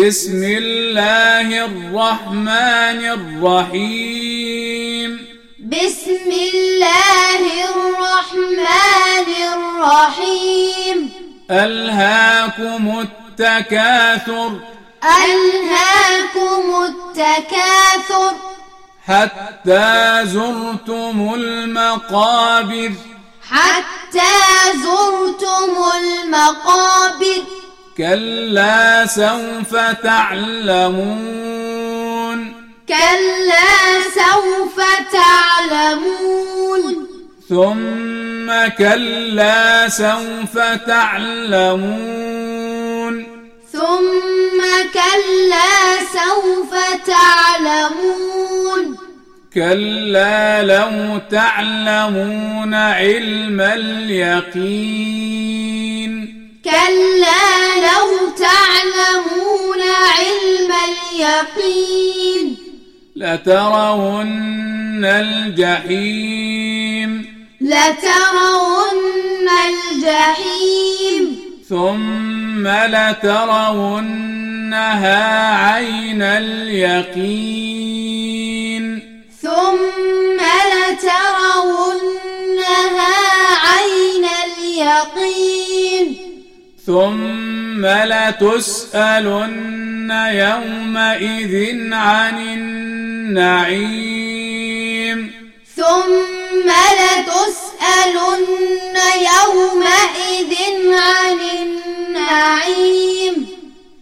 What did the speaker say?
بسم الله الرحمن الرحيم بسم الله الرحمن الرحيم ألهاكم التكاثر ألهاكم التكاثر حتى زرتم المقابر حتى زرتم المقابر كلا سوف تعلمون كلا سوف تعلمون ثم كلا سوف تعلمون ثم كلا سوف تعلمون كلا لو تعلمون علم اليقين كلا لو تعلمون علم اليقين لترون الجحيم لترون الجحيم ثم لترونها عين اليقين ثم لترونها عين اليقين ثم لتسألن يومئذ عن النعيم ثم لتسألن يومئذ عن النعيم